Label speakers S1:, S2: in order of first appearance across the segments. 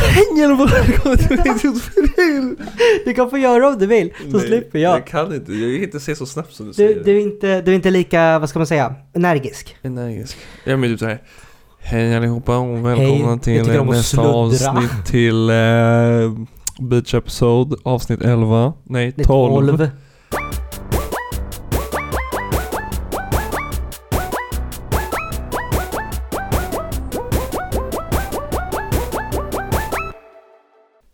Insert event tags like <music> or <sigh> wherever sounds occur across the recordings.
S1: pengarna bara kommer till min
S2: Du kan få göra om du vill, så
S1: Nej,
S2: slipper jag.
S1: Jag kan inte, jag kan inte se så snabbt som du,
S2: Du,
S1: säger.
S2: du, är inte, du är inte lika, vad ska man säga, energisk.
S1: Energisk. Jag är mer typ såhär. Hej allihopa och välkomna
S2: Hej, jag
S1: till
S2: tycker om att
S1: nästa
S2: sluddra.
S1: avsnitt till eh, Beach Episode avsnitt 11. Nej,
S2: Det är
S1: 12.
S2: 12.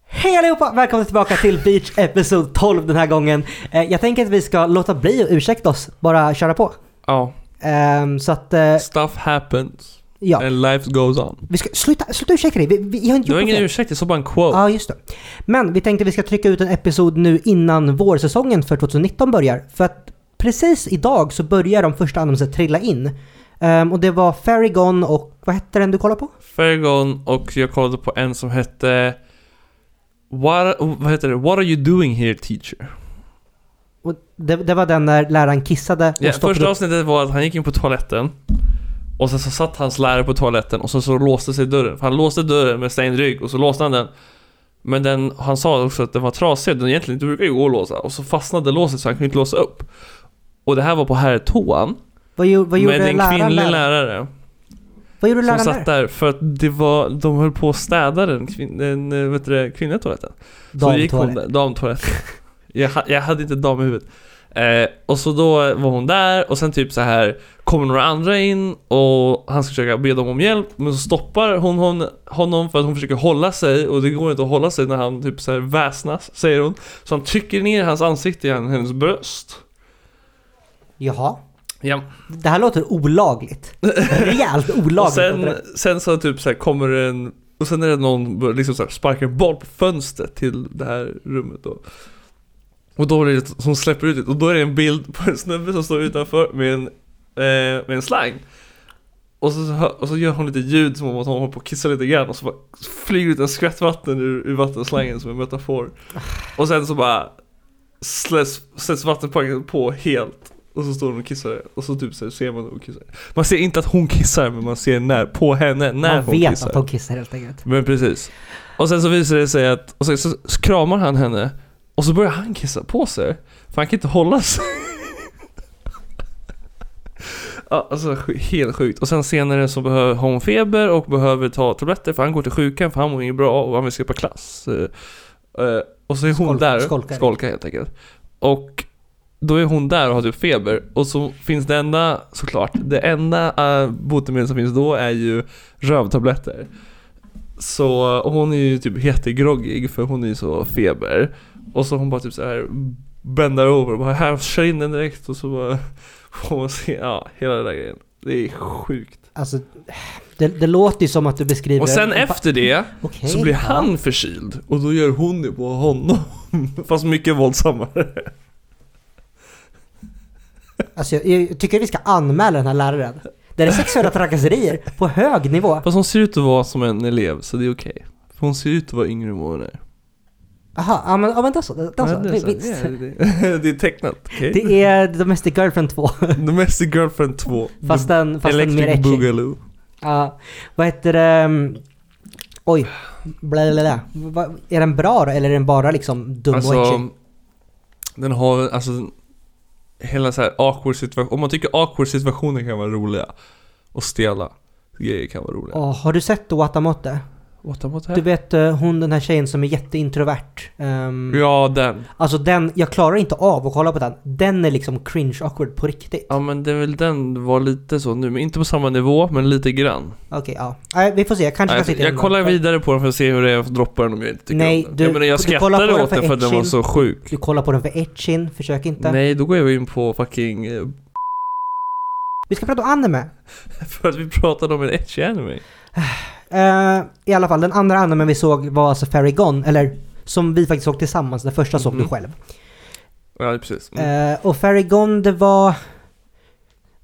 S2: Hej allihopa! Välkomna tillbaka till Beach Episode 12 den här gången. Eh, Jag tänker att vi ska låta bli att ursäkta oss, bara köra på.
S1: Ja,
S2: Ehm, Så att, eh,
S1: stuff happens
S2: ja.
S1: and life goes on.
S2: Vi ska, sluta, sluta ursäkta dig, vi, vi har inte gjort
S1: Det var
S2: något
S1: ingen
S2: fel.
S1: ursäkt, jag sa bara en quote.
S2: Ja, just det. Men vi tänkte vi ska trycka ut en episod nu innan vårsäsongen för 2019 börjar. För att precis idag så börjar de första annonserna trilla in. Ehm, och det var Faragon och vad hette den du kollade på?
S1: Fergon och jag kollade på en som hette What, vad heter det? What are you doing here teacher?
S2: Och det, det var den där läraren kissade och
S1: Ja,
S2: stoppade
S1: första
S2: upp.
S1: avsnittet var att han gick in på toaletten Och sen så satt hans lärare på toaletten och sen så låste sig dörren För han låste dörren med stängd rygg och så låste han den Men den, han sa också att den var trasig Den egentligen inte brukar ju gå att låsa Och så fastnade låset så han kunde inte låsa upp Och det här var på herrtoan
S2: Vad, gjo- vad gjorde
S1: Med en
S2: läraren
S1: kvinnlig
S2: där?
S1: lärare
S2: Vad gjorde
S1: Som
S2: läraren där?
S1: satt där för att det var, de höll på att städa den, kvin, den eh, vet du, det, kvinnliga toaletten så gick hon
S2: Damtoalett.
S1: där, damtoalett. jag, ha- jag hade inte dam i huvudet. Eh, och så då var hon där och sen typ så här kommer några andra in och han ska försöka be dem om hjälp men så stoppar hon, hon honom för att hon försöker hålla sig och det går inte att hålla sig när han typ så här väsnas, säger hon. Så han trycker ner hans ansikte i hennes bröst.
S2: Jaha.
S1: Ja.
S2: Det här låter
S1: <laughs>
S2: olagligt. Rejält olagligt.
S1: Och sen, sen så typ så här kommer det en och sen är det någon bör- liksom så här sparkar en boll på fönstret till det här rummet då. Och då blir det, hon släpper ut det och då är det en bild på en snubbe som står utanför med en, eh, med en slang. Och så, så hör- och så gör hon lite ljud som om att hon håller på att kissa lite grann och så bara flyger ut en skvätt vatten ur, ur vattenslangen som en metafor. Och sen så bara släs, sätts vattenplankan på helt och så står hon och kissar och så typ så här ser man hon kissar. Man ser inte att hon kissar men man ser när, på henne när
S2: Man
S1: hon
S2: vet
S1: kissar.
S2: att hon kissar helt enkelt.
S1: Men precis. Och sen så visar det sig att, och sen så kramar han henne och så börjar han kissa på sig. För han kan inte hålla sig. <laughs> Ja, alltså sj- helt sjukt. Och sen senare så behöver har hon feber och behöver ta tabletter för han går till sjukan för han mår inte bra och han vill skippa klass. Eh, eh, Och så är hon
S2: Skolk-
S1: där,
S2: skolkar.
S1: skolkar helt enkelt. Och då är hon där och har typ feber och så finns det enda, såklart, det enda uh, botemedel som finns då är ju rövtabletter. Så och hon är ju typ jättegroggig för hon är ju så feber. Och så hon bara typ så här bändar över och bara här, kör in den direkt och så bara <laughs> får man se, ja hela den där grejen. Det är sjukt.
S2: Alltså, det, det låter ju som att du beskriver...
S1: Och sen efter det
S2: Okej,
S1: så blir
S2: ja.
S1: han förkyld och då gör hon det på honom. <laughs> Fast mycket våldsammare.
S2: Alltså jag, jag tycker vi ska anmäla den här läraren. Det är sexuella trakasserier på hög nivå.
S1: Fast hon ser ut att vara som en elev så det är okej. För hon ser ut att vara yngre än vad hon är.
S2: Jaha, ja men, ja, men då så. Då, då så.
S1: Ja, det, är
S2: Alltså, Vi-
S1: så.
S2: Vinst.
S1: Det, är- <laughs> det, det är tecknat, okej?
S2: Det är Domestic Girlfriend 2.
S1: Domestic Girlfriend 2.
S2: Fast den, fast den mer
S1: Electric
S2: etchig.
S1: Boogaloo.
S2: Ja, vad heter det? um, Oj. Bla, bla, bla. Va- Är den bra då, eller är den bara liksom dum och etchig?
S1: Alltså, den har alltså hela så här awkward situation. Om man tycker awkward situationer kan vara roliga och stela grejer kan vara roliga.
S2: Åh, har du sett Watamote?
S1: What about
S2: Du
S1: that?
S2: vet eh, hon den här tjejen som är jätteintrovert. Um,
S1: Ja, den.
S2: Alltså den, jag klarar inte av att kolla på den. Den är liksom cringe awkward på riktigt.
S1: Ja, men det är väl den var lite så nu, men inte på samma nivå, men lite grann. alltså,
S2: Okej, ja. Nej, vi får se. Jag kanske kan
S1: Jag,
S2: sitta
S1: jag kollar vidare på den för att se hur det är att droppa den om jag inte tycker
S2: Nej,
S1: om den.
S2: du-
S1: jag, menar, jag
S2: du kollar på
S1: skrattade
S2: den
S1: åt
S2: för
S1: den för att den var
S2: etching.
S1: så sjuk.
S2: Du kollar på den för etchin, försök inte.
S1: Nej, då går jag in på fucking... eh, <laughs>
S2: Vi ska prata om anime.
S1: För att vi pratade om en etchy anime.
S2: Eh, I alla fall, den andra animen vi såg var alltså Fairy Gone, eller som vi faktiskt såg tillsammans. Den första såg
S1: Mhm.
S2: du själv.
S1: Ja, precis. Mm.
S2: Eh, och Fairy Gone, det var...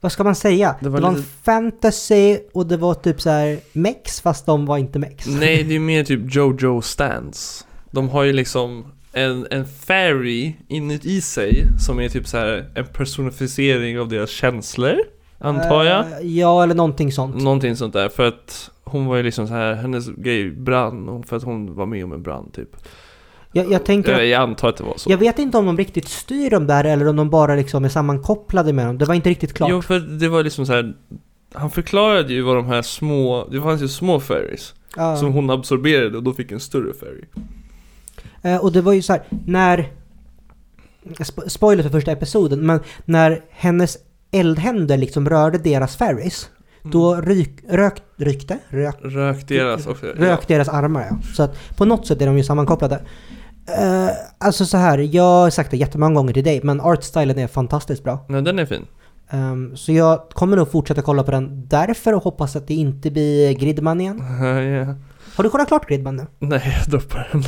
S2: Vad ska man säga?
S1: Det
S2: Det
S1: var
S2: var, en
S1: lite-
S2: fantasy och det var typ så här mex, fast de var inte mex.
S1: Nej, det är mer typ Jojo Stance. De har ju liksom en, en fairy inuti sig som är typ så här en personifiering av deras känslor, antar jag. Mm.
S2: Eh, ja, eller någonting sånt.
S1: Någonting sånt där, för att hon var ju liksom så här, hennes grej brann och- för att hon var med om en brand typ.
S2: Jag, jag tänker
S1: Jag,
S2: att,
S1: jag antar att det var så.
S2: jag vet inte om de riktigt styr dem där eller om de bara liksom är sammankopplade med dem. Det var inte riktigt klart.
S1: Jo, för det var liksom så här. Han förklarade ju vad de här små, det fanns ju små fairies
S2: Ja.
S1: som hon absorberade och då fick en större fairy.
S2: Eh, och det var ju så här, när... spo- Spoiler för första episoden, men när hennes eldhänder liksom rörde deras ferries, då ryk, rök, rykte, rök,
S1: Mm. Rök deras också.
S2: rök deras armar. Ja. Så att på något sätt är de ju sammankopplade. Eh, alltså så här, jag har sagt det jättemånga gånger till dig, men artstylen är fantastiskt bra.
S1: Ja. Nej, den är fin.
S2: Ehm, så jag kommer nog fortsätta kolla på den därför och hoppas att det inte blir Gridman igen.
S1: Ja, <laughs> ja.
S2: Har du kollat klart Gridman nu?
S1: Nej, jag droppar den.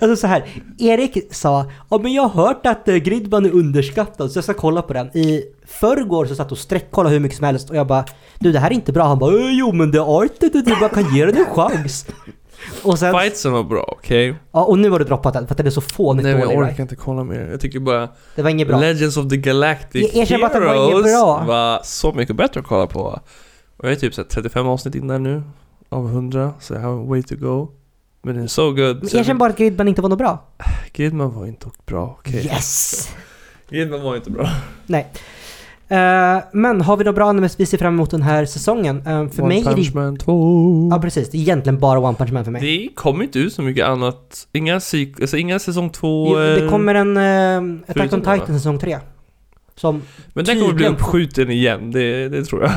S2: Alltså så här, Erik sa ja men jag har hört att eh, Gridman är underskattad så jag ska kolla på den. I förrgår så satt och sträckkollade hur mycket som helst och jag bara du det här är inte bra. Han bara "Eh, jo men det är artet du bara kan ge den en chans. Och sen,
S1: Fightsen var bra, okej?
S2: ja, och nu har du droppat den för att den är så fånigt
S1: Nej, men jag
S2: dålig.
S1: orkar
S2: Right?
S1: inte kolla mer. Jag tycker bara
S2: Det var inget bra.
S1: Legends of the Galactic
S2: Jag erkänner att det var inget
S1: Heroes
S2: bra.
S1: var så mycket bättre att kolla på. Och jag är typ så här 35 avsnitt in där nu, av 100, så jag har way to go. Men den är so good.
S2: Men
S1: så jag
S2: Erkänn bara att Gridman inte var något bra.
S1: Gridman var inte bra, okej?
S2: Yes!
S1: Gridman var inte bra.
S2: Nej. Eh, men har vi några bra animes vi ser fram emot den här säsongen? Eh, för mig är
S1: One
S2: det
S1: Punch Man 2.
S2: Ja precis, det är egentligen bara One Punch Man för mig.
S1: Det kommer inte ut så mycket annat. Inga, psyk- alltså, inga säsong 2.
S2: Jo, det kommer en uh, Attack
S1: förutom
S2: on
S1: det, va?
S2: Titan säsong 3. Som,
S1: Men den kommer bli
S2: tydligen-
S1: uppskjuten igen, det, det tror jag.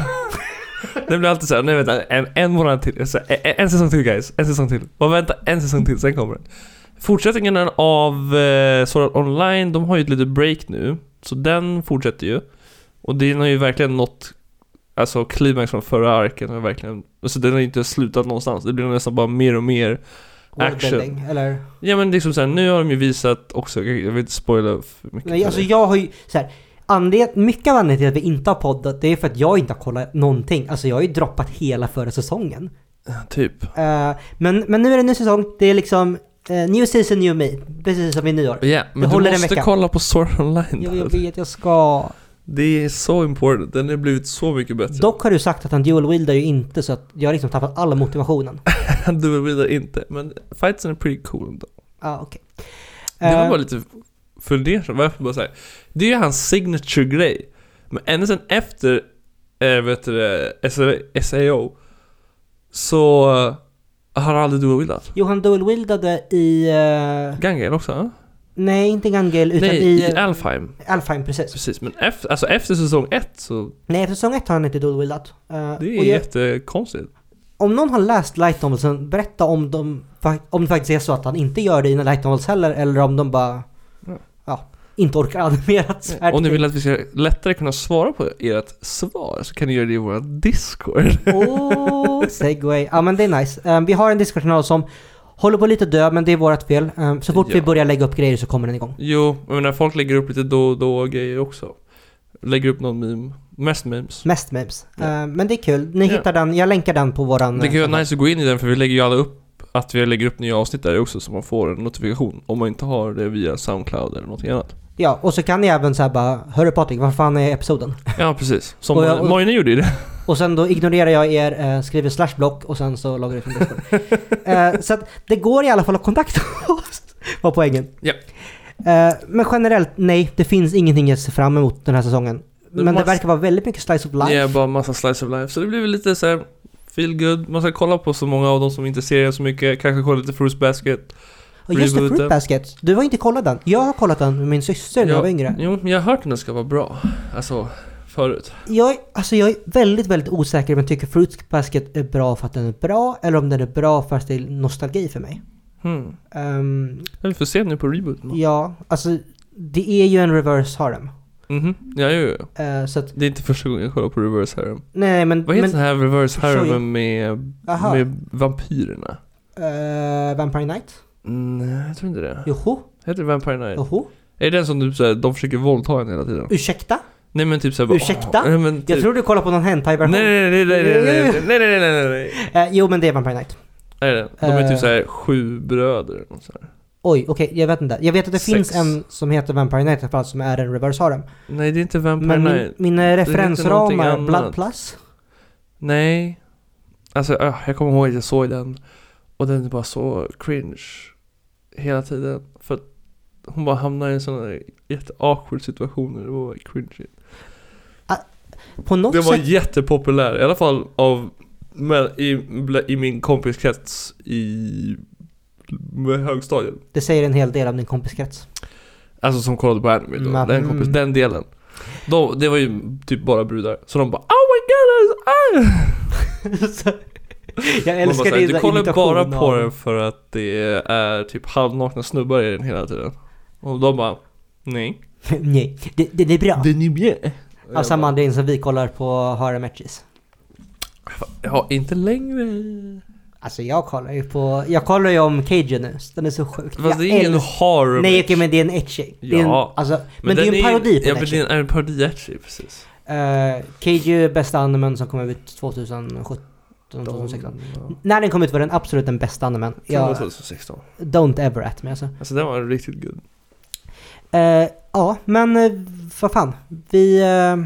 S2: <laughs>
S1: det blir alltid såhär, nej vänta, en, en månad till, så, en, en säsong till guys, en säsong till. Bara vänta en säsong till, sen kommer den. Fortsättningen av eh, Sword Art Online, de har ju ett litet break nu. Så den fortsätter ju. Och den har ju verkligen nått, alltså klimax från förra arken. Har verkligen, alltså den har ju inte slutat någonstans, det blir nästan bara mer och mer action.
S2: Worldbuilding, eller?
S1: Ja men liksom såhär, nu har de ju visat också, jag vill inte spoila för mycket.
S2: Nej, alltså jag har ju så här, anled- mycket av anledningen till att vi inte har poddat det är för att jag inte har kollat någonting. Alltså jag har ju droppat hela förra säsongen.
S1: Typ.
S2: Eh, men, men nu är det en ny säsong, det är liksom eh, new season, new me. Precis som i nyår.
S1: Ja, men du
S2: håller en
S1: måste
S2: vecka.
S1: kolla på Sword Online.
S2: Jag, jag
S1: där.
S2: vet, jag ska...
S1: Det är så important, den har blivit så mycket bättre.
S2: Dock har du sagt att han dual wieldar ju inte så att jag har liksom tappat all
S1: <laughs>
S2: motivationen. Ja,
S1: <laughs> du vill det inte, men fightsen är pretty cool ändå.
S2: ah, okej.
S1: Det var
S2: Eh,
S1: bara lite fundersam, varför bara säga. Det är ju hans signature-grej. Men ända sen efter, äh, vet du det, SA- SAO, så eh, har han aldrig duo-wildat.
S2: Johan dual wieldade i... eh,
S1: Gangel också? eh?
S2: nej, inte Gangale utan
S1: Nej,
S2: i... eh,
S1: i Alfheim.
S2: Alfheim, precis.
S1: Precis, men efter, alltså efter säsong ett så,
S2: Nej, efter säsong ett har han inte dual-wildat. Eh,
S1: det är
S2: och jag-
S1: jättekonstigt.
S2: Om någon har läst Light Novels, sen berätta om, de, fa- om det faktiskt är så att han inte gör det i Light Novels heller, eller om de bara...
S1: Ja.
S2: Ja, inte orkar animera ett svärd
S1: Mm. Om ni
S2: till.
S1: vill att vi ska lättare kunna svara på ert svar så kan ni göra det i vår Discord.
S2: Åh, segway. Ja men det är nice. Eh, vi har en Discord-kanal som håller på lite att dö, men det är vårt fel. Eh, så fort vi
S1: Ja.
S2: börjar lägga upp grejer så kommer den igång.
S1: Jo, jag menar folk lägger upp lite då och då grejer också. Lägger upp någon meme. Mest memes.
S2: Mest memes.
S1: Ja.
S2: Eh, men det är kul. Ni
S1: Ja.
S2: hittar den, jag länkar den på våran...
S1: Det kan ju
S2: eh,
S1: vara nice att gå in i den för vi lägger ju alla upp att vi lägger upp nya avsnitt där också så man får en notifikation om man inte har det via Soundcloud eller någonting annat.
S2: Ja, och så kan ni även säga bara Hörru Patrik, vad fan är episoden?
S1: Ja, precis. Som
S2: Och jag- och-
S1: Mojne gjorde ju det.
S2: Och sen då ignorerar jag er, eh, skriver slashblock och sen så loggar jag ut min Discord.
S1: <laughs>
S2: eh, så att det går i alla fall att kontakta oss, <laughs> var poängen.
S1: Ja.
S2: Eh, men generellt, nej, det finns ingenting jag ser fram emot den här säsongen.
S1: Det
S2: Men
S1: måste-
S2: det verkar vara väldigt mycket slice of life.
S1: Det är bara massa slice of life. Så det blir väl lite så här feel good. Man ska kolla på så många av dem som inte ser så mycket. Kanske kolla lite Fruits Basket.
S2: och just det,
S1: rebooten.
S2: Fruit Basket. Du har inte kollat den. Jag har kollat den med min syster när jag var yngre.
S1: Jo, jag har hört att den ska vara bra. Alltså, förut.
S2: Jag, är- alltså jag är väldigt, väldigt osäker om jag tycker Fruit Basket är bra för att den är bra eller om den är bra för att det är nostalgi för mig.
S1: Hmm.
S2: Ehm,
S1: Vi får se nu på rebooten. då.
S2: ja, alltså det är ju en reverse harem.
S1: Mhm, ja, jo, jo.
S2: Eh, så att
S1: Det är inte första gången jag kollar på Reverse Harem.
S2: Nej men...
S1: Vad heter
S2: men,
S1: den här Reverse
S2: Sorry.
S1: Harem med,
S2: Aha.
S1: med vampyrerna?
S2: eh, Vampire Knight?
S1: Nej, jag tror inte det.
S2: Joho?
S1: Heter det Vampire Night?
S2: Joho?
S1: Är det den som typ såhär, de försöker våldta en hela tiden?
S2: Ursäkta?
S1: Nej men typ såhär bara,
S2: Ursäkta?
S1: åh, nej, men typ,
S2: Jag tror du kollar på någon hentai-version.
S1: Nej nej nej nej nej nej nej
S2: Eh,
S1: nej nej nej nej
S2: jo men det är Vampire Knight.
S1: Är det den? De är
S2: Eh.
S1: typ såhär sju bröder eller nåt sånt där.
S2: Oj, okej, jag vet inte. Jag vet att det
S1: Sex.
S2: finns en som heter Vampire Knight i alla fall som är en reverse harem.
S1: Nej det är inte Vampire
S2: Men min,
S1: Night.
S2: mina
S1: någonting
S2: referensramar,
S1: annat.
S2: Blood Plus?
S1: Nej. Alltså öh, jag kommer ihåg att jag såg den och den är bara så cringe hela tiden. För att hon bara hamnar i en sån där jätteawkward situation och det var cringe.
S2: På något
S1: Det var
S2: sätt
S1: jättepopulär, i alla fall av men, i, i min kompiskrets i med högstadiet.
S2: Det säger en hel del om din <laughs> kompiskrets.
S1: Alltså som kollade på anime då,
S2: Mm.
S1: den, kompis, den delen. De, det var ju typ bara brudar, så de bara Oh my god! that's- ah!"
S2: Så- jag
S1: Man bara
S2: älskar
S1: såhär,
S2: din
S1: Du kollar
S2: imitation
S1: bara på
S2: av-
S1: den för att det är typ halvnakna snubbar i den hela tiden. Och de bara Nej.
S2: <laughs>
S1: Alltså,
S2: Nej, det, det, det är bra.
S1: Den är bjä.
S2: Av samma anledning som vi kollar på Hara Matches.
S1: Ja, inte längre.
S2: Alltså jag kollar ju på, jag kollar ju om Cajun nu. Den är så sjuk.
S1: Fast
S2: Jag
S1: det är ingen
S2: älskar-
S1: horror.
S2: Nej okej men det är en etching. Det är en,
S1: Ja.
S2: alltså, men, det är ju en parodi på en
S1: Ja, men det
S2: etching.
S1: är en parodi actually, precis.
S2: Uh, Keiju är bästa animen som kom ut 2017, 2016.
S1: Ja.
S2: När den kom ut var den absolut den bästa animen.
S1: Ja.
S2: Jag,
S1: 2016.
S2: don't ever at me alltså.
S1: Alltså den var riktigt good.
S2: Eh, ja, men eh, vad fan. Vi... eh,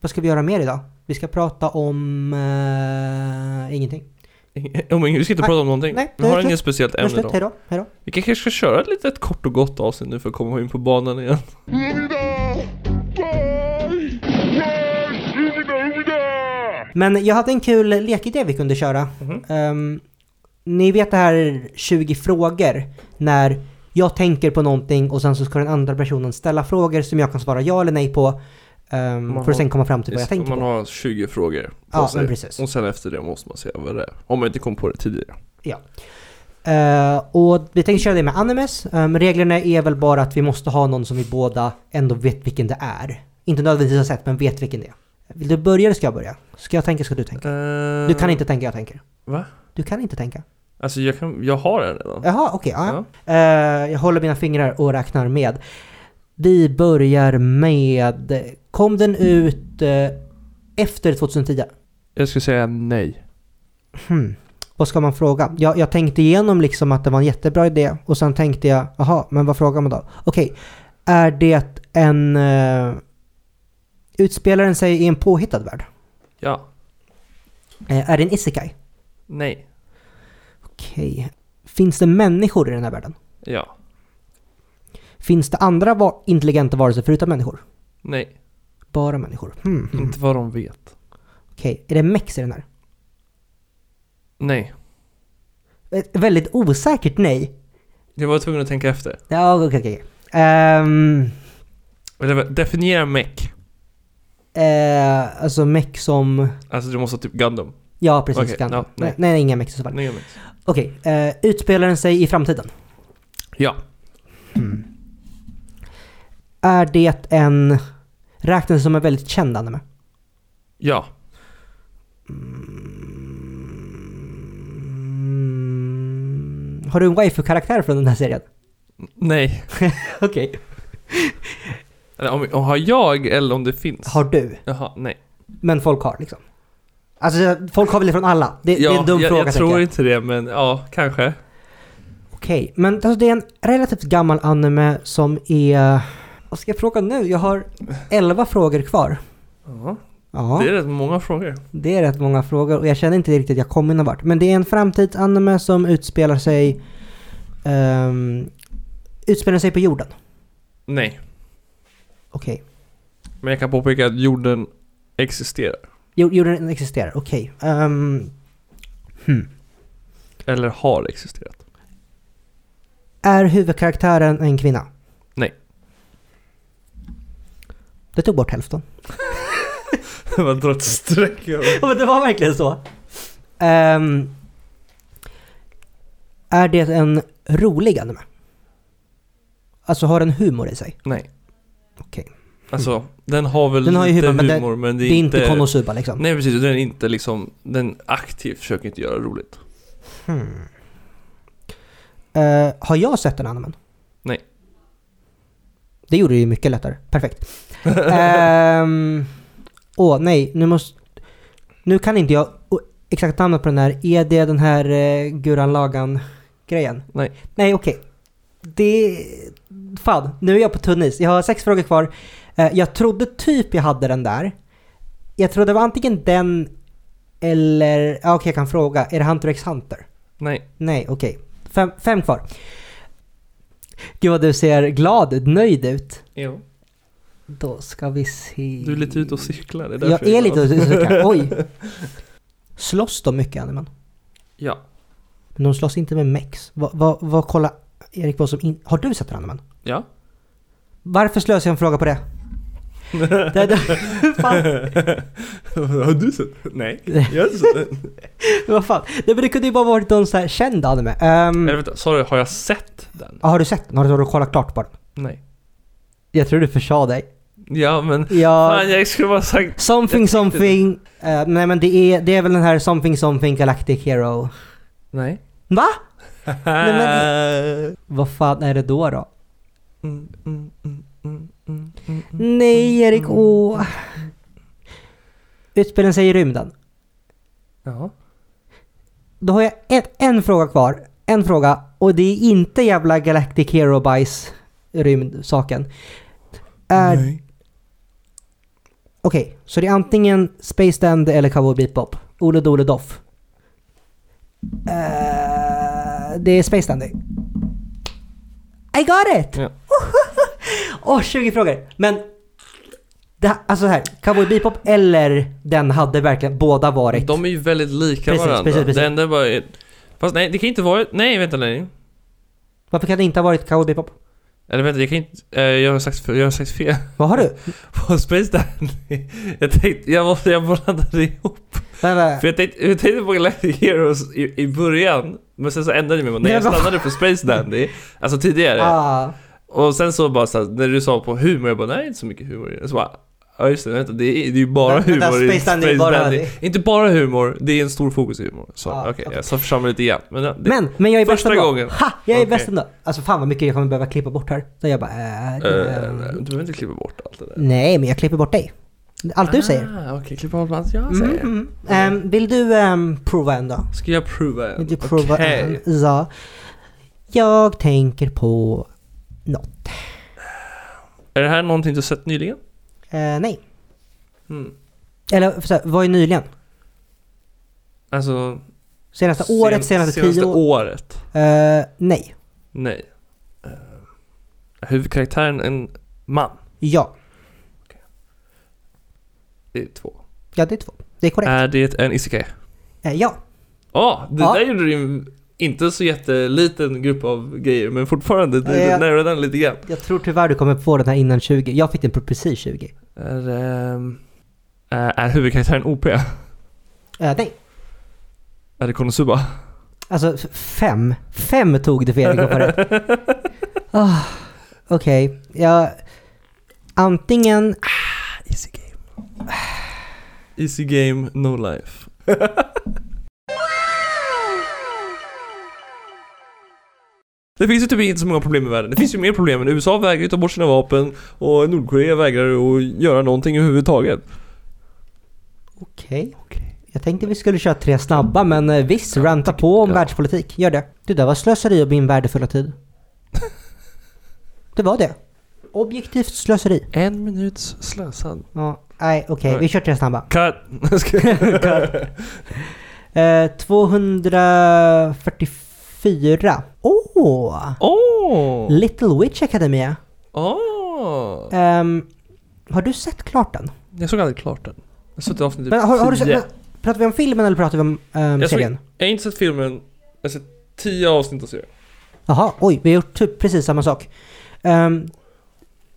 S2: vad ska vi göra mer idag? Vi ska prata om eh, ingenting.
S1: Om ingen, vi ska inte
S2: Nej,
S1: prata om någonting.
S2: nej,
S1: vi
S2: det är
S1: har
S2: slut.
S1: inget speciellt
S2: Men
S1: ämne
S2: slut,
S1: idag.
S2: hejdå, hejdå.
S1: Vi kanske ska köra ett litet kort och gott avsnitt nu för att komma in på banan igen.
S3: Umida! Bye! Bye! Umida, Umida!
S2: Men jag hade en kul lekidé vi kunde köra.
S1: Mhm.
S2: Ehm, ni vet det här 20 frågor när jag tänker på någonting och sen så ska den andra personen ställa frågor som jag kan svara ja eller nej på. ehm,
S1: Man
S2: för att
S1: har-
S2: sen komma fram till vad jag
S1: Just,
S2: tänker
S1: man
S2: på.
S1: har 20 frågor på
S2: Ja,
S1: sig.
S2: men precis.
S1: Och sen efter det måste man se vad det är. Om man inte kom på det tidigare.
S2: Eh, och vi tänkte köra det med animes. Ehm, reglerna är väl bara att vi måste ha någon som vi båda ändå vet vilken det är. Inte nödvändigtvis har sett, men vet vilken det är. Vill du börja eller ska jag börja? Ska jag tänka ska du tänka? Du kan inte tänka, jag tänker.
S1: Va?
S2: Du kan inte tänka.
S1: Eh, Alltså jag, kan, jag har en redan.
S2: Jaha, okej. ja.
S1: Ja.
S2: Eh, jag håller mina fingrar och räknar med. Vi börjar med... Kom den ut eh, efter 2010?
S1: Jag skulle säga nej.
S2: Hmm. Vad ska man fråga? Jag, jag tänkte igenom liksom att det var en jättebra idé och sen tänkte jag, jaha, men vad frågar man då? Okej, är det en... Uh, utspelar den sig i en påhittad värld?
S1: Ja.
S2: Eh, är det en isekai?
S1: Nej.
S2: Okej. Finns det människor i den här världen?
S1: Ja.
S2: Finns det andra va- intelligenta varelser förutom människor?
S1: Nej.
S2: Bara människor. Hmm, hmm.
S1: Mm. Inte vad de vet.
S2: Okej, är det mex i den här?
S1: Nej.
S2: Ett väldigt osäkert nej.
S1: Jag var tvungen att tänka efter.
S2: Ja, okej, okej. Ehm,
S1: Eller Definiera meck.
S2: eh, alltså meck som...
S1: Alltså du måste ha typ Gundam.
S2: Ja, precis.
S1: Okej,
S2: kan.
S1: ja,
S2: nej.
S1: nej.
S2: nej, inga meck i så fall.
S1: Nej, meck.
S2: Okej, eh, utspelar den sig i framtiden?
S1: Ja.
S2: Är det en... Räknas som en väldigt känd anime?
S1: Ja.
S2: Mm, har du en waifu-karaktär från den här serien?
S1: Nej.
S2: Okej.
S1: Eller om, om har jag eller om det finns.
S2: Har du?
S1: Jaha, nej.
S2: Men folk har liksom. Alltså, folk har väl det från alla? Det, det är en dum
S1: jag,
S2: fråga
S1: jag
S2: tänker
S1: tror inte det, men ja, kanske.
S2: Okej, men alltså det är en relativt gammal anime som är... Vad ska jag fråga nu? Jag har 11 frågor kvar.
S1: Ja,
S2: Ja,
S1: Det är rätt många frågor.
S2: det är rätt många frågor och jag känner inte riktigt att jag kommer någon vart. Men det är en framtidsanime som utspelar sig... ehm, utspelar sig på jorden.
S1: Nej.
S2: Okej.
S1: Men jag kan påpeka att jorden existerar.
S2: Jo- Jorden existerar, okej. Ehm,
S1: Eller har <laughs> existerat.
S2: är huvudkaraktären en kvinna?
S1: Nej.
S2: Det tog bort hälften.
S1: Man drar ett streck över.
S2: Ja men det var verkligen så. Ehm, är det en rolig anime? Alltså har den humor i sig?
S1: Nej.
S2: Okej.
S1: Alltså, den har väl
S2: Den har ju
S1: lite
S2: humor, men det-
S1: humor, men det
S2: Det
S1: är,
S2: är
S1: inte...
S2: inte Konosuba liksom?
S1: Nej precis, den är inte liksom... Den aktivt försöker inte göra roligt.
S2: Hmm. Eh, har jag sett den animen?
S1: Nej.
S2: Det gjorde det ju mycket lättare. Perfekt. Ehm, Åh nej, nu måste... Nu kan inte jag o- exakt namnet på den här. Är det den här eh, Guran Lagan-grejen?
S1: Nej.
S2: Nej, okej. Det... Fan, nu är jag på tunn is. Jag har sex frågor kvar. Eh, jag trodde typ jag hade den där. Jag trodde det var antingen den Eller, ja okej jag kan fråga, är det Hunter x Hunter?
S1: <laughs> Nej.
S2: Nej, okej. Fem, fem kvar. Gud vad du ser glad, nöjd ut.
S1: Jo.
S2: Då ska vi se...
S1: Du är lite ute och cyklar. Det är därför
S2: Jag är lite
S1: glad.
S2: ute och
S1: <laughs>
S2: cyklar, oj. Slåss de mycket animen?
S1: Ja.
S2: Men de slåss inte med mex. Vad, vad, vad kollar Erik på som in... Har du sett Ranneman?
S1: Ja.
S2: Varför slösar jag en fråga på det? <laughs> det, det
S1: <laughs>
S2: fan,
S1: Har du sett? Nej. Jag har inte sett den.
S2: vad fan. Det, men det kunde ju bara varit någon så här känd anime. Ehm,
S1: Eller vänta, sa du, har jag sett den?
S2: ja, har du sett den? Har du, har du kollat klart på den?
S1: Nej.
S2: Jag tror du försade dig.
S1: Ja men...
S2: Ja,
S1: Fan, jag skulle bara sagt...
S2: something
S1: jag tänkte det.
S2: something. Eh, nej men det är, det är väl den här something something galactic hero.
S1: Nej.
S2: Va?
S1: <laughs> men...
S2: Vad fan är det då då?
S1: Mm, mm, mm, mm, mm, mm, mm.
S2: Nej Erik, åh. Utspelen sig i rymden.
S1: Ja.
S2: Då har jag en, en fråga kvar. En fråga. Och det är inte jävla Galactic Hero Bajs rymdsaken. Är- Okej,
S1: Nej.
S2: så det är antingen Space Dand eller Cowboy Bebop. Ole Dole Doff. Eh, det är Space Dandy. I got it!
S1: Ja.
S2: <laughs> Åh, 20 frågor! Men... Det, här- alltså här, Cowboy Bebop eller den hade verkligen båda varit...
S1: De är ju väldigt lika
S2: Precis,
S1: varandra.
S2: precis, precis.
S1: Det enda bara är... Fast nej, det kan inte vara... Nej, vänta nej.
S2: Varför kan det inte ha varit Cowboy Bebop?
S1: Eller vänta, jag kan inte... eh, jag, har sagt, jag har sagt fel.
S2: Vad har du?
S1: På Space Dandy. Jag tänkte... Jag, måste, jag blandade ihop.
S2: Vänta.
S1: För jag tänkte, jag tänkte på Galactic Heroes i, i början. Men sen så ändrade jag mig. Men när jag
S2: Nej, vad-
S1: stannade på Space Dandy. Alltså tidigare.
S2: Ah.
S1: Och sen så bara såhär, när du sa på humor, jag bara nej det är inte så mycket humor i det. Så bara, ja just det, vänta, det är, det är ju bara
S2: Vänta,
S1: humor i
S2: Space Dandy är bara-
S1: Inte bara humor, det är en stor fokus i humor. Så
S2: Ja,
S1: okej, jag sa församla lite igen. Men, ja, det,
S2: Men, men jag är bäst
S1: första
S2: ändå.
S1: gången.
S2: Ha! Jag är
S1: Okej.
S2: bäst ändå. Alltså fan vad mycket jag kommer behöva klippa bort här. Så jag bara, äh,
S1: Eh,
S2: äh,
S1: nej, du behöver inte klippa bort allt det där.
S2: Nej, men jag klipper bort dig. Allt du säger.
S1: Ah, okej, klippa bort allt jag
S2: Mm,
S1: säger.
S2: mm. Ehm, vill du ehm, prova en då?
S1: Ska jag prova en?
S2: Vill du prova
S1: Okej.
S2: en? Ja. Jag tänker på något.
S1: Är det här någonting du sett nyligen?
S2: Eh, nej.
S1: Mm.
S2: Eller så här, vad är nyligen?
S1: Alltså...
S2: Senaste året, senaste,
S1: senaste
S2: tio år?
S1: året?
S2: Eh, nej.
S1: Nej. Eh, huvudkaraktären en man?
S2: Ja.
S1: Det är två.
S2: Ja, det är två. Det är korrekt.
S1: Är det en isekai? Äh.
S2: Eh, ja.
S1: Ja, det
S2: Ja.
S1: där gjorde du ju inte så jätteliten grupp av grejer men fortfarande, du
S2: Ja.
S1: närmade den lite grann.
S2: Jag tror tyvärr du kommer få den här innan 20. Jag fick den på precis 20.
S1: Är, ehm, eh, är huvudkaraktären OP?
S2: Eh, nej.
S1: Är det Konosuba?
S2: Alltså f- fem. Fem tog det för Erik att få
S1: <laughs>
S2: rätt. Ah, Okej, jag... Antingen... Ah,
S1: Easy game. Easy game, no life. Det finns ju typ inte så många problem i världen. Det finns ju mer problem än USA vägrar ju ta bort sina vapen och Nordkorea vägrar att göra någonting överhuvudtaget.
S2: Okej. Jag tänkte vi skulle köra tre snabba, men eh, visst, ranta på om
S1: ja.
S2: världspolitik. Gör det. Det där var slöseri av min värdefulla tid. det var det. Objektivt slöseri.
S1: En minuts slösad.
S2: Ja, nej, okej, vi kör tre
S1: <laughs>
S2: snabba.
S1: Cut!
S2: Eh, 244. Åh! Oh,
S1: Åh!
S2: Little Witch Academia.
S1: Åh!
S2: Ehm, har du sett klart den?
S1: Jag såg aldrig klart den. Jag såg ett avsnitt
S2: Men har, har du sett,
S1: typ tio.
S2: men pratar vi om filmen eller pratar vi om ehm,
S1: Jag såg-
S2: serien?
S1: Jag har inte sett filmen, jag har sett tio avsnitt av serien.
S2: Jaha, oj, vi har gjort typ precis samma sak. Ehm,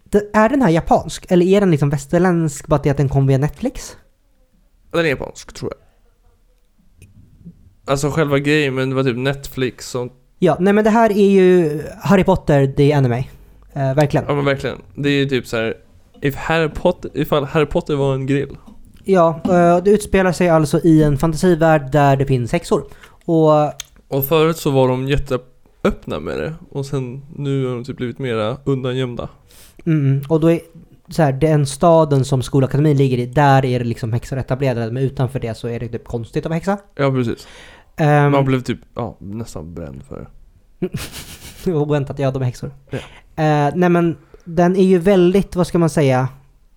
S2: det, är den här japansk eller är den liksom västerländsk bara det att den kom via Netflix?
S1: Den är japansk, tror jag. Alltså själva grejen, men det var typ Netflix som...
S2: Ja, nej men det här är ju Harry Potter, the anime. Eh, verkligen.
S1: Ja men verkligen. Det är ju typ så här. If Harry Potter, ifall Harry Potter var en grill.
S2: Ja, eh, det utspelar sig alltså i en fantasivärld där det finns häxor. Och mm,
S1: Och förut så var de jätteöppna med det. Och sen nu har de typ blivit mera undangömda.
S2: Mm, och då är så här, den staden som skolakademin ligger i, där är det liksom häxor etablerade, men utanför det så är det typ konstigt att vara häxa.
S1: Ja precis.
S2: Ehm,
S1: Man blev typ, ja, nästan bränd för det.
S2: <laughs> oväntat, ja de är häxor.
S1: Ja.
S2: Eh, nej men, den är ju väldigt, vad ska man säga,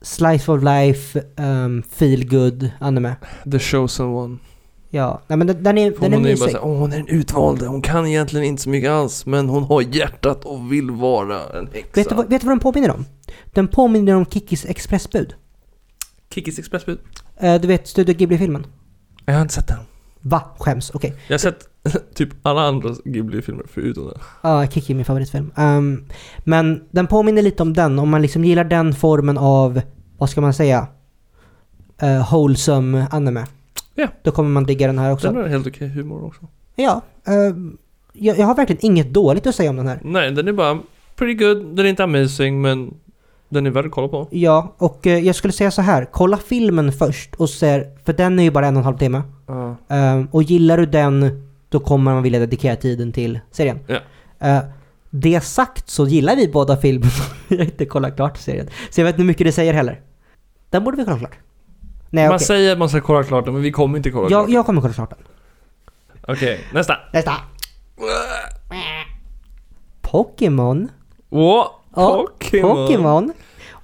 S2: slice of life, um, ehm, feel good anime.
S1: The chosen one.
S2: Ja, nej men den, den är,
S1: Hon
S2: den är
S1: är ju bara
S2: mysig.
S1: såhär, åh hon är den utvalde, hon kan egentligen inte så mycket alls men hon har hjärtat och vill vara en häxa.
S2: Vet du, vad- vet du vad den påminner om? Den påminner om Kikis expressbud.
S1: Kikis expressbud?
S2: Eh, du vet Studio Ghibli-filmen?
S1: Jag har inte sett den.
S2: Va? Skäms? Okej.
S1: Jag har sett typ alla andra Ghibli-filmer förutom den.
S2: Ja, Kiki är min favoritfilm. Ehm, men den påminner lite om den, om man liksom gillar den formen av, vad ska man säga, uh, wholesome anime.
S1: Ja.
S2: Då kommer man digga den här också.
S1: Den har helt okej humor också.
S2: Ja, ehm, jag, jag har verkligen inget dåligt att säga om den här.
S1: Nej, den är bara pretty good, den är inte amazing men den är värd att kolla på.
S2: Ja, och eh, jag skulle säga så här, kolla filmen först och se, för den är ju bara en och en halv timme.
S1: Ja.
S2: Ehm, och gillar du den, då kommer man vilja dedikera tiden till serien.
S1: Ja.
S2: Eh, det sagt så gillar vi båda filmen. <laughs> jag har inte kollat klart serien. Så jag vet inte hur mycket det säger heller. Den borde vi kolla klart. Nej,
S1: man
S2: okej.
S1: säger att man ska kolla klart den men vi kommer inte kolla klart
S2: Jag,
S1: den.
S2: jag kommer kolla klart den.
S1: Okej, nästa.
S2: Nästa! Pokémon.
S1: Åh,
S2: Ja,
S1: Pokémon.
S2: Pokémon.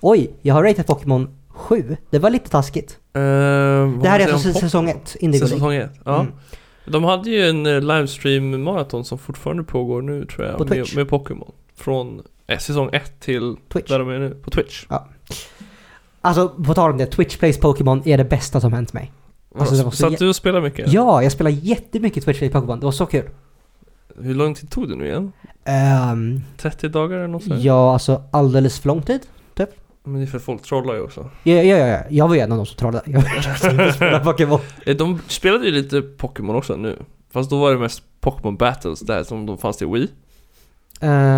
S2: Oj, jag har ratat Pokémon 7. Det var lite taskigt.
S1: Eh, vad
S2: Det här är
S1: säger man?
S2: alltså
S1: Pop-
S2: säsong 1, Indigo League.
S1: Säsong ett, ja.
S2: Mm.
S1: De hade ju en eh, livestream-maraton som fortfarande pågår nu tror jag.
S2: På
S1: med,
S2: Twitch.
S1: med Pokémon. Från eh, säsong 1 till
S2: Twitch.
S1: där de är nu, på Twitch.
S2: Alltså, på tal om det. Twitch Plays Pokémon är det bästa som hänt mig. Alltså, det var
S1: så
S2: så
S1: Satt
S2: jä-
S1: du och spelade mycket?
S2: Ja, jag spelar jättemycket Twitch Plays Pokémon. Det var så kul.
S1: Hur lång tid tog det nu igen?
S2: Ehm,
S1: 30 dagar eller något sånt?
S2: ja, alltså alldeles för lång tid.
S1: Men det är för folk trollar ju också.
S2: Ja, ja, ja, ja. Jag var ju en av de som trollade. Jag
S1: <laughs>
S2: spelade Pokémon.
S1: Eh, De spelade ju lite Pokémon också nu. Fast då var det mest Pokémon Battles där som de fanns till Wii.
S2: Um,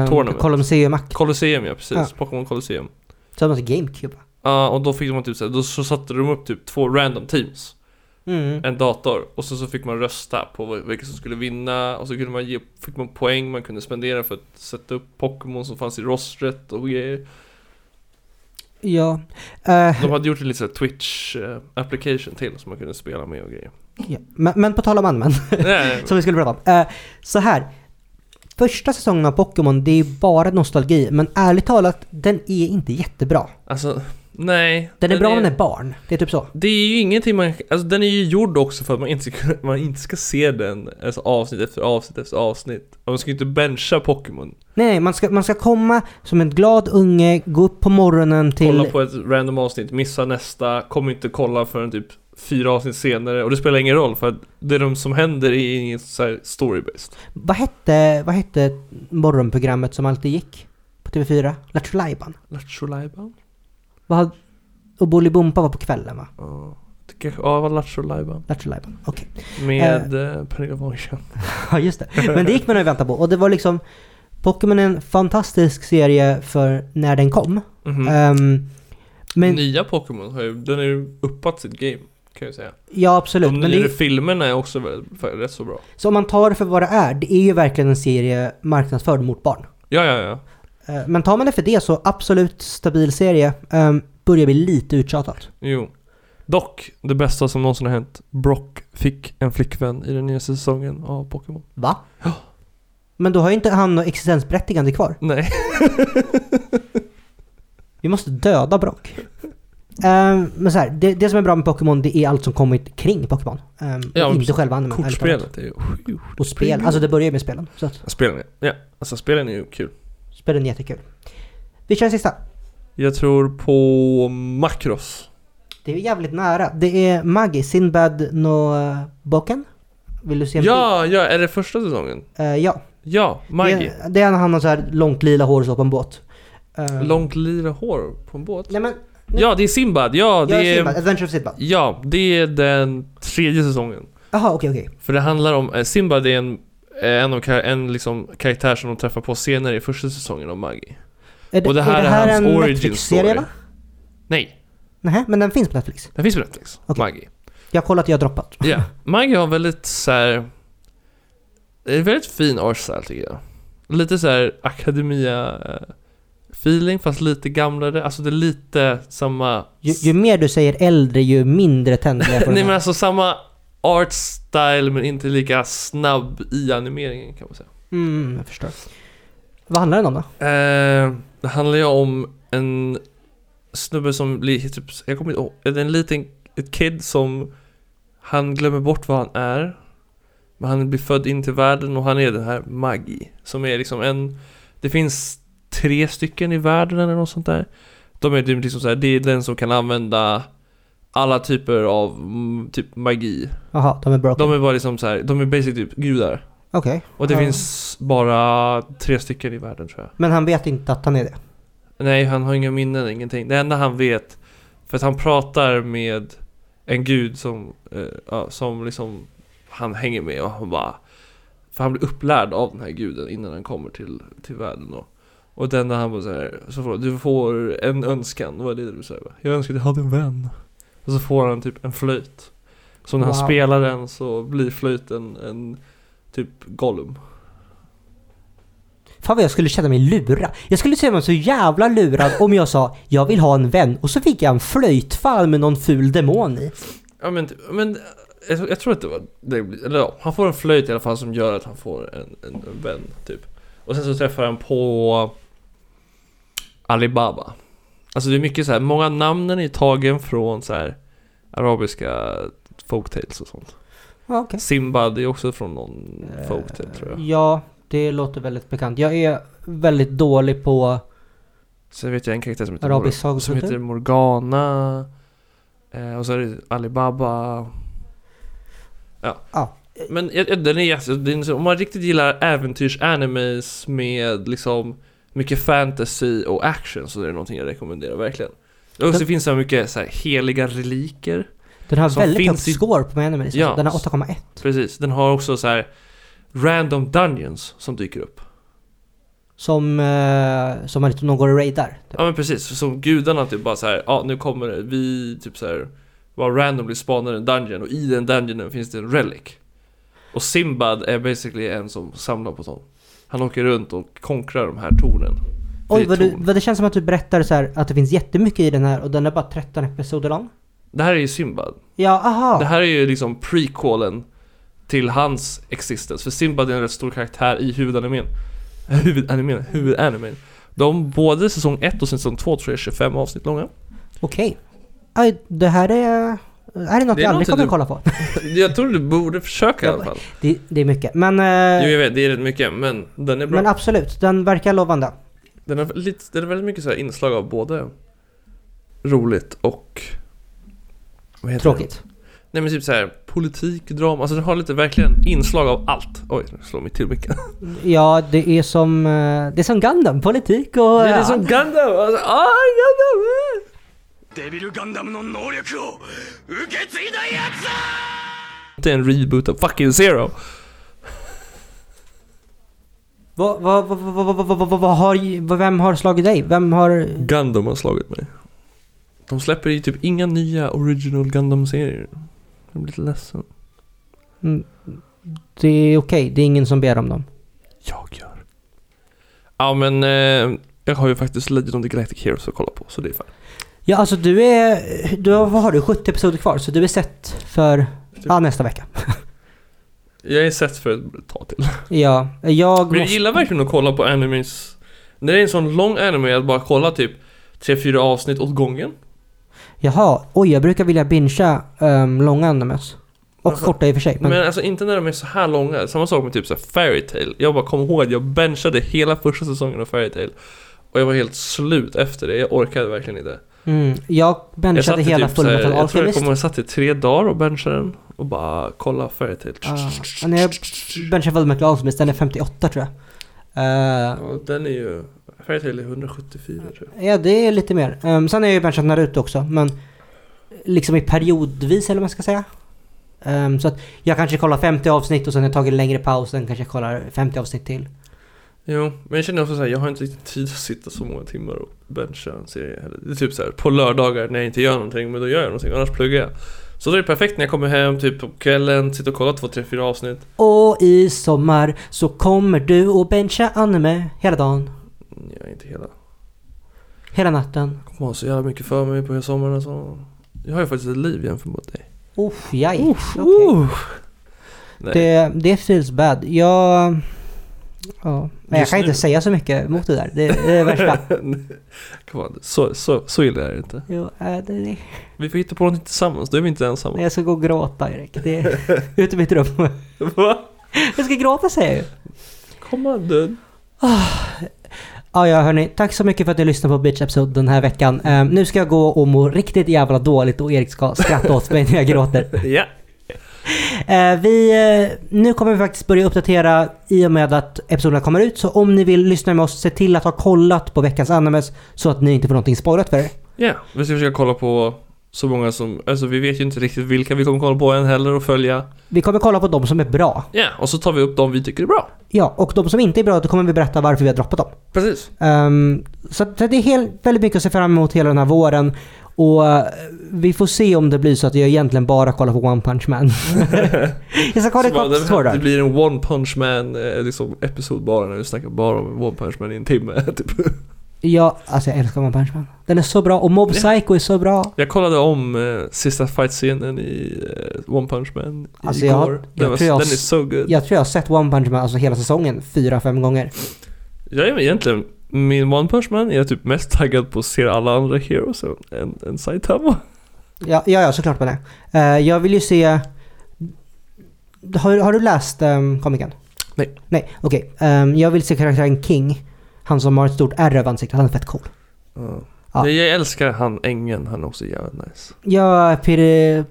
S1: Tournament.
S2: Colosseum Act.
S1: Colosseum ja, precis.
S2: Ja.
S1: Pokémon Colosseum.
S2: Så hade man till alltså GameCube.
S1: Ja, och då fick man typ så här, då så satte de upp typ två random teams.
S2: Mm.
S1: en dator och så, så fick man rösta på vil- vilka som skulle vinna och så kunde man ge, fick man poäng man kunde spendera för att sätta upp Pokémon som fanns i rostret och grejer.
S2: Ja. Eh,
S1: De hade gjort en liten Twitch eh, application till som man kunde spela med
S2: <laughs>
S1: och grejer.
S2: ja. Men, men på tal om annan,
S1: Nej,
S2: som vi skulle prata om. Eh, så här. Första säsongen av Pokémon, det är ju bara nostalgi. Men ärligt talat, den är inte jättebra.
S1: alltså, nej.
S2: Den är bra om man är barn. Det är typ så.
S1: Det är ju ingenting man, alltså den är ju gjord också för att man inte ska, man inte ska se den, alltså avsnitt efter avsnitt efter avsnitt. Och man ska ju inte bencha Pokémon.
S2: Nej, nej, man ska, man ska komma som en glad unge, gå upp på morgonen
S1: Kolla
S2: till...
S1: på ett random avsnitt, missa nästa, kommer inte kolla förrän typ fyra avsnitt senare och det spelar ingen roll för att det de som händer är ingen så här story-based.
S2: Vad hette, vad hette morgonprogrammet som alltid gick på TV4? Lattjo Lajban.
S1: Lattjo Lajban?
S2: Vad hade- Och Bolibompa var på kvällen va?
S1: Ja, det kanske- ja, det var Lattjo Lajban.
S2: Lattjo Lajban, <laughs> okej.
S1: Med eh. Pernilla Wahlgren.
S2: Ja just det. Men det gick man och väntade på och det var liksom Pokémon är en fantastisk serie för när den kom.
S1: Mhm.
S2: Ehm, men
S1: Nya Pokémon har ju, den har ju uppat sitt game kan jag säga.
S2: ja absolut.
S1: De
S2: Men
S1: nyare
S2: det,
S1: filmerna är också väldigt, för- rätt så bra.
S2: så om man tar det för vad det är, det är ju verkligen en serie marknadsförd mot barn.
S1: Ja, ja, ja.
S2: Eh, men tar man det för det så absolut stabil serie. Ehm, börjar bli lite uttjatat.
S1: Jo. Dock, det bästa som någonsin har hänt. Brock fick en flickvän i den nya säsongen av Pokémon.
S2: Va? Men då har ju inte han något existensberättigande kvar.
S1: Nej.
S2: Vi måste döda Brock. Ehm, men så här, det, det som är bra med Pokémon det är allt som kommit kring Pokémon. Ehm,
S1: Ja,
S2: och
S1: men
S2: inte själva animen. ärligt talat.
S1: Kortspelet är ju sjukt.
S2: Och spel. Alltså det börjar ju med spelen. Så att
S1: Spelen, ja. ja. Alltså spelen är ju kul.
S2: spelen är jättekul. Vi kör den sista.
S1: Jag tror på Macross.
S2: Det är jävligt nära. Det är Magi, Sinbad no Boken. Vill du se en bild?
S1: Ja, ja, är det första säsongen?
S2: Eh, ja.
S1: Ja, Maggie.
S2: Det, det är när han har så här långt lila hår och så på en båt. Ehm,
S1: Långt lila hår på en båt.
S2: Nej men,
S1: Ja, det är Sinbad. Ja,
S2: jag
S1: det
S2: är Sinbad.
S1: är...
S2: Adventure of Sinbad.
S1: Ja, det är den tredje säsongen.
S2: Jaha, okej okej.
S1: För det handlar om... eh, Sinbad är en, eh, en, av, kar- en liksom karaktär som de träffar på senare i första säsongen av Maggie.
S2: Är
S1: Och det här är hans
S2: en
S1: origin
S2: Netflix-serie
S1: story.
S2: va?
S1: Nej,
S2: Nej, men den finns på Netflix.
S1: den finns på Netflix.
S2: Okej.
S1: Maggie.
S2: Jag har kollat, jag har droppat.
S1: Ja, Maggie har väldigt så här. Det är en väldigt fin artstyle tycker jag. Lite så här akademia eh, feeling fast lite gamlare. Alltså det är lite samma...
S2: Ju, ju mer du säger äldre, ju mindre tänder
S1: <laughs>
S2: jag på den
S1: Nej
S2: här.
S1: men alltså samma artstyle men inte lika snabb i animeringen kan man säga.
S2: Mm, jag förstår. Vad handlar den om då?
S1: Eh, det handlar ju om en snubbe som blir typ, jag kommer inte ihåg, är det en liten, ett kid som Han glömmer bort vad han är. Men han blir född in till världen och han är den här Maggi. Som är liksom en... Det finns tre stycken i världen eller något sånt där. De är typ liksom så här, det är den som kan använda alla typer av mm, typ magi.
S2: Jaha, de är broken.
S1: De är bara liksom så här, de är basic typ gudar.
S2: Okej.
S1: Och det
S2: Ja.
S1: finns bara tre stycken i världen tror jag.
S2: Men han vet inte att han är det.
S1: Nej, han har inga minnen, ingenting. Det enda han vet, för att han pratar med en gud som, eh, ja, som liksom han hänger med och han bara... För han blir upplärd av den här guden innan han kommer till, till världen då. Och den där han bara såhär, så får du får en önskan, vad är det du säger? Jag önskar att jag hade en vän. Och så får han typ en flöjt. Så när
S2: Wow.
S1: han spelar den så blir flöjten en typ Gollum.
S2: Fan vad jag skulle känna mig lurad. Jag skulle känna mig så jävla lurad om jag sa jag vill ha en vän och så fick jag en flöjtfall med någon ful demon i.
S1: Ja men, men jag, tror- jag tror att det var det, blir- eller ja, han får en flöjt i alla fall som gör att han får en, en, en vän typ. Och sen så träffar han på Alibaba. Alltså det är mycket så här, många namnen är tagen från så här arabiska folktales och sånt.
S2: Ja, okej. Eh.
S1: Simba, det är också från någon folktale Eh, tror jag.
S2: Ja, det låter väldigt bekant. Jag är väldigt dålig på...
S1: Sen vet jag en karaktär som heter,
S2: Arabisk
S1: Mor- som
S2: sagokultur?
S1: heter Morgana. Eh, och så är det Alibaba. Ja.
S2: Ja.
S1: Men jag- jag- den är jätte... den är så- Om man riktigt gillar äventyrs-animes med liksom mycket fantasy och action så är det någonting jag rekommenderar verkligen. Och så
S2: Den-
S1: finns det så mycket så här heliga reliker.
S2: Den har
S1: Som
S2: väldigt högt
S1: finns i-
S2: score på Manimal.
S1: Ja.
S2: Ja. Den har 8,1.
S1: Precis. Den har också så här random dungeons som dyker upp.
S2: Som, eh, som man inte någon går och raidar. typ.
S1: Ja men precis, som gudarna typ bara så här, ja nu kommer det, vi typ så här bara randomly spanar en dungeon och i den dungeonen finns det en relic. Och Simbad är basically en som samlar på sånt. Han åker runt och konkrar de här tornen. För
S2: Oj,
S1: det är
S2: vad, du,
S1: torn.
S2: vad det känns som att du berättar så här, att det finns jättemycket i den här och den är bara 13 episoder lång.
S1: Det här är ju Simbad.
S2: Ja, aha!
S1: Det här är ju liksom prequelen till hans existens. För Simbad är en rätt stor karaktär i huvudanimen. Huvudanimen, huvudanimen. De, både säsong 1 och säsong 2 tror jag är 25 avsnitt långa.
S2: Okej. Aj, Det här är... Är det något
S1: Det är
S2: jag aldrig
S1: någonting
S2: kommer kolla
S1: du-
S2: på?
S1: Jag tror du borde försöka i alla fall.
S2: Det, det är mycket. Men,
S1: Jo,
S2: eh,
S1: jag vet, det är rätt mycket, men den är bra.
S2: men absolut, den verkar lovande.
S1: Den har, lite, den har väldigt mycket så här inslag av både roligt och... Vad heter
S2: Tråkigt.
S1: Det? Nej men typ så här politik, drama, alltså den har lite verkligen inslag av allt. Oj, nu slår mig till mycket.
S2: Ja, det är som... eh, Det är som Gundam, politik och... eh,
S1: Det är som Gundam! Alltså, ah, Gundam! eh!
S4: デビルガンダムの能力を受け継いだやつだ
S1: Det är en reboot av fucking Zero.
S2: Vad, vad, vad, vad, vad, vad, vad, vad, vad har... Vad, vem har slagit dig? Vem har...
S1: Gundam har slagit mig. De släpper ju typ inga nya original Gundam-serier. Jag blir lite ledsen.
S2: Mm, Det är okej, det är ingen som ber om dem.
S1: Jag gör. Ja men, eh, jag har ju faktiskt Legend of the Galactic Heroes att kolla på, så det är fan.
S2: Ja, alltså du är... Du har, vad har du? 70 episoder kvar, så du är sett för...
S1: Typ.
S2: Ja, nästa vecka.
S1: Jag är sett för ett tag till.
S2: Ja, jag
S1: Men jag
S2: måste...
S1: gillar verkligen att kolla på animes. När det är en sån lång anime, att bara kolla typ 3-4 avsnitt åt gången.
S2: Jaha, oj, jag brukar vilja bingea um, långa animes. Och
S1: Varför?
S2: korta i och för sig, men...
S1: Men alltså inte när de är så här långa. Samma sak med typ så här Fairy Tail. Jag bara kom ihåg att jag benchade hela första säsongen av Fairy Tail. Och jag var helt slut efter det. Jag orkade verligen inte.
S2: Mm, jag
S1: Jag
S2: benchade
S1: i typ
S2: hela
S1: så här-
S2: Fullmetal
S1: Jag tror jag
S2: Alchemist.
S1: kommer att satt i tre dagar och benchade den. Och bara kolla Fairy Tail.
S2: Ah, ja, när jag benchade Fullmetal Alchemist, den är 58 tror jag. Eh,
S1: Ja, den är ju... Fairy Tail är 174 tror jag.
S2: ja, det är lite mer. Um, sen har jag ju benchat Naruto också, men liksom i periodvis eller vad man ska säga. Ehm, så att jag kanske kollar 50 avsnitt och sen har jag tagit en längre paus, sen kanske jag kollar 50 avsnitt till.
S1: Jo, men jag känner också såhär, jag har inte riktigt tid att sitta så många timmar och bencha en serie heller. Det är typ såhär, på lördagar när jag inte gör någonting, men då gör jag någonting, annars pluggar jag. Så då är det perfekt när jag kommer hem, typ på kvällen, sitter och kollar två, tre, fyra avsnitt.
S2: Och i sommar så kommer du och bencha anime hela dagen,
S1: Mm, Jag är inte hela.
S2: hela natten.
S1: Jag kommer ha så jävla mycket för mig på hela sommaren så. Jag har ju faktiskt ett liv jämfört med dig.
S2: Uff, jaj.
S1: Uff,
S2: Okej.
S1: uff. Nej.
S2: Det, det feels bad. Jag, Ja. Men jag
S1: Just
S2: kan inte
S1: nu.
S2: säga så mycket mot det där. Det, det är det
S1: <laughs>
S2: värsta.
S1: Come on, så, så, så illa är det inte.
S2: Jo, äh, det, det.
S1: Vi får hitta på någonting tillsammans, då är vi inte ensamma.
S2: Jag ska gå och gråta Erik. Det
S1: <laughs>
S2: är ut i mitt rum.
S1: Va?
S2: Jag ska gråta säger jag ju.
S1: Come on dude.
S2: Ja, ja hörni. Tack så mycket för att ni lyssnade på Beach Episode den här veckan. Ehm, nu ska jag gå och må riktigt jävla dåligt och Erik ska skratta åt mig när jag gråter.
S1: Ja.
S2: Eh, vi, eh, nu kommer vi faktiskt börja uppdatera i och med att episoderna kommer ut. Så om ni vill lyssna med oss, se till att ha kollat på veckans animes så att ni inte får någonting sparat för er.
S1: Ja, vi ska försöka kolla på så många som, alltså vi vet ju inte riktigt vilka vi kommer kolla på än heller och följa.
S2: Vi kommer kolla på de som är bra.
S1: Ja, och så tar vi upp dem vi tycker är bra.
S2: Ja, och de som inte är bra, då kommer vi berätta varför vi har droppat dem.
S1: Precis.
S2: Ehm, så att det är helt, väldigt mycket att se fram emot hela den här våren. Och eh, vi får se om det blir så att jag egentligen bara kollar på One Punch
S1: <laughs>
S2: Man. jag ska kolla
S1: Så bara,
S2: klart så
S1: det, det
S2: där.
S1: blir en One Punch Man eh, liksom, episod bara när vi snackar bara om One Punch Man i en timme. <laughs> Typ.
S2: Ja, alltså jag älskar One Punch Man. Den är så bra och Mob Psycho är så bra.
S1: Jag kollade om eh, sista fight-scenen i eh, One Punch Man
S2: Alltså, jag har-
S1: igår.
S2: jag
S1: den, var,
S2: tror jag
S1: den
S2: har
S1: är
S2: s-
S1: så good.
S2: Jag tror jag har sett One Punch Man alltså hela säsongen fyra, fem gånger.
S1: Jag är egentligen, min One Punch Man är jag typ mest taggad på att se alla andra heroes än- än, än Saitama.
S2: Ja, ja, ja såklart man är. Eh, jag vill ju se... Har, har du läst um, komikern?
S1: Nej.
S2: Nej, okej. Ehm, jag vill se karaktären King. Han som har ett stort ärr över ansiktet. Han är fett cool. Ja.
S1: Nej, Jag älskar han ängen, han är också jävligt nice.
S2: Ja, Piri...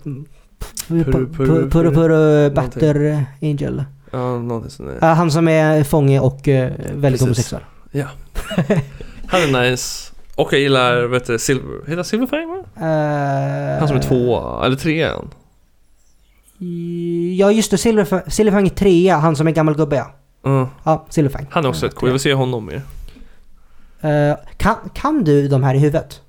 S2: Puru
S1: Puru-
S2: Puru
S1: Puru-
S2: Puru Puru Batter
S1: Någonting.
S2: Angel.
S1: Ja, någonting sånt där.
S2: Ja, han som är fånge och eh, väldigt
S1: Precis.
S2: homosexuell.
S1: Han är nice. Och jag gillar, vet du, Silver, heter han Silverfang va?
S2: Eh,
S1: Han som är tvåa, eller trean.
S2: Eh, Ja, just det. Silverf- Silverfang är trea. Han som är gammal gubbe, ja.
S1: Mm.
S2: Ja, Silverfang.
S1: Han är också rätt cool, jag vill se honom mer.
S2: Eh, kan, kan du de här i huvudet?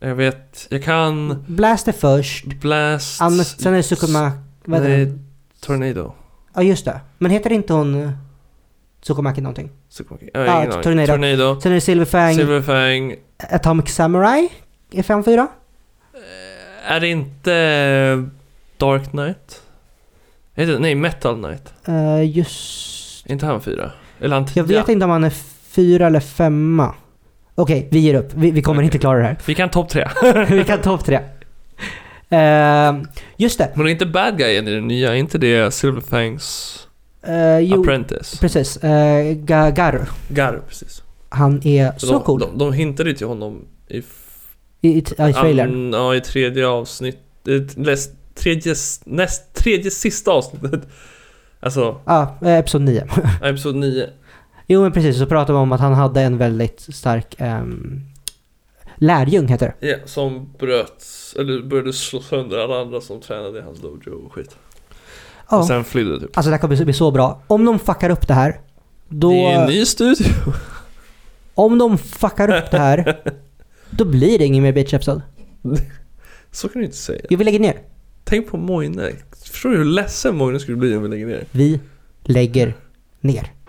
S1: Jag vet, jag kan
S2: Blast är först.
S1: Blast...
S2: Annars, sen är det Sukuma... Vad heter
S1: Nej,
S2: den?
S1: Tornado.
S2: Ja, just det. Men heter inte hon eh, Sukumaki någonting?
S1: Sukumaki.
S2: Ja,
S1: Ja, ingen aning.
S2: Tornado.
S1: Tornado.
S2: Sen är det Silverfang,
S1: Silverfang.
S2: Atomic Samurai i 5-4.
S1: Är det inte eh, Dark Knight? Heter det- Nej, Metal Knight.
S2: Eh, just...
S1: Är inte han fyra? Eller han
S2: Jag
S1: tia?
S2: vet inte om han är fyra eller femma. Okej, vi ger upp. Vi, vi kommer
S1: Okej.
S2: inte klara det här.
S1: Vi kan topp tre.
S2: <laughs> vi kan ta upp tre. Eh, just det.
S1: Men det är inte bad guyen i den nya, är inte det Silverfangs
S2: Eh, jo,
S1: apprentice?
S2: precis. Eh, Ga- Garu.
S1: Gar, precis.
S2: Han är så
S1: de,
S2: cool.
S1: de, de hintade ju till honom i... f-
S2: I, i, I trailern.
S1: an- ja, i tredje avsnitt... eh, Näst, tredje, s- näst, tredje sista avsnittet. Alltså,
S2: Ja, eh, Episod 9.
S1: episod 9.
S2: Jo men precis, så pratade vi om att han hade en väldigt stark ehm, lärjung heter det.
S1: Ja, som bröt... Eller började slå sönder alla andra som tränade i hans dojo och skit.
S2: Ja.
S1: Och sen flydde typ.
S2: Alltså det här kommer bli så bra. Om de fuckar upp det här, då...
S1: Det är en ny studio.
S2: Om de fuckar upp det här,
S1: <laughs>
S2: då blir det ingen mer bitch episode.
S1: Så kan du inte säga.
S2: Jo vi lägger ner.
S1: Tänk på Moine. Förstår du hur ledsen Moine skulle bli om vi lägger ner?
S2: Vi lägger ner.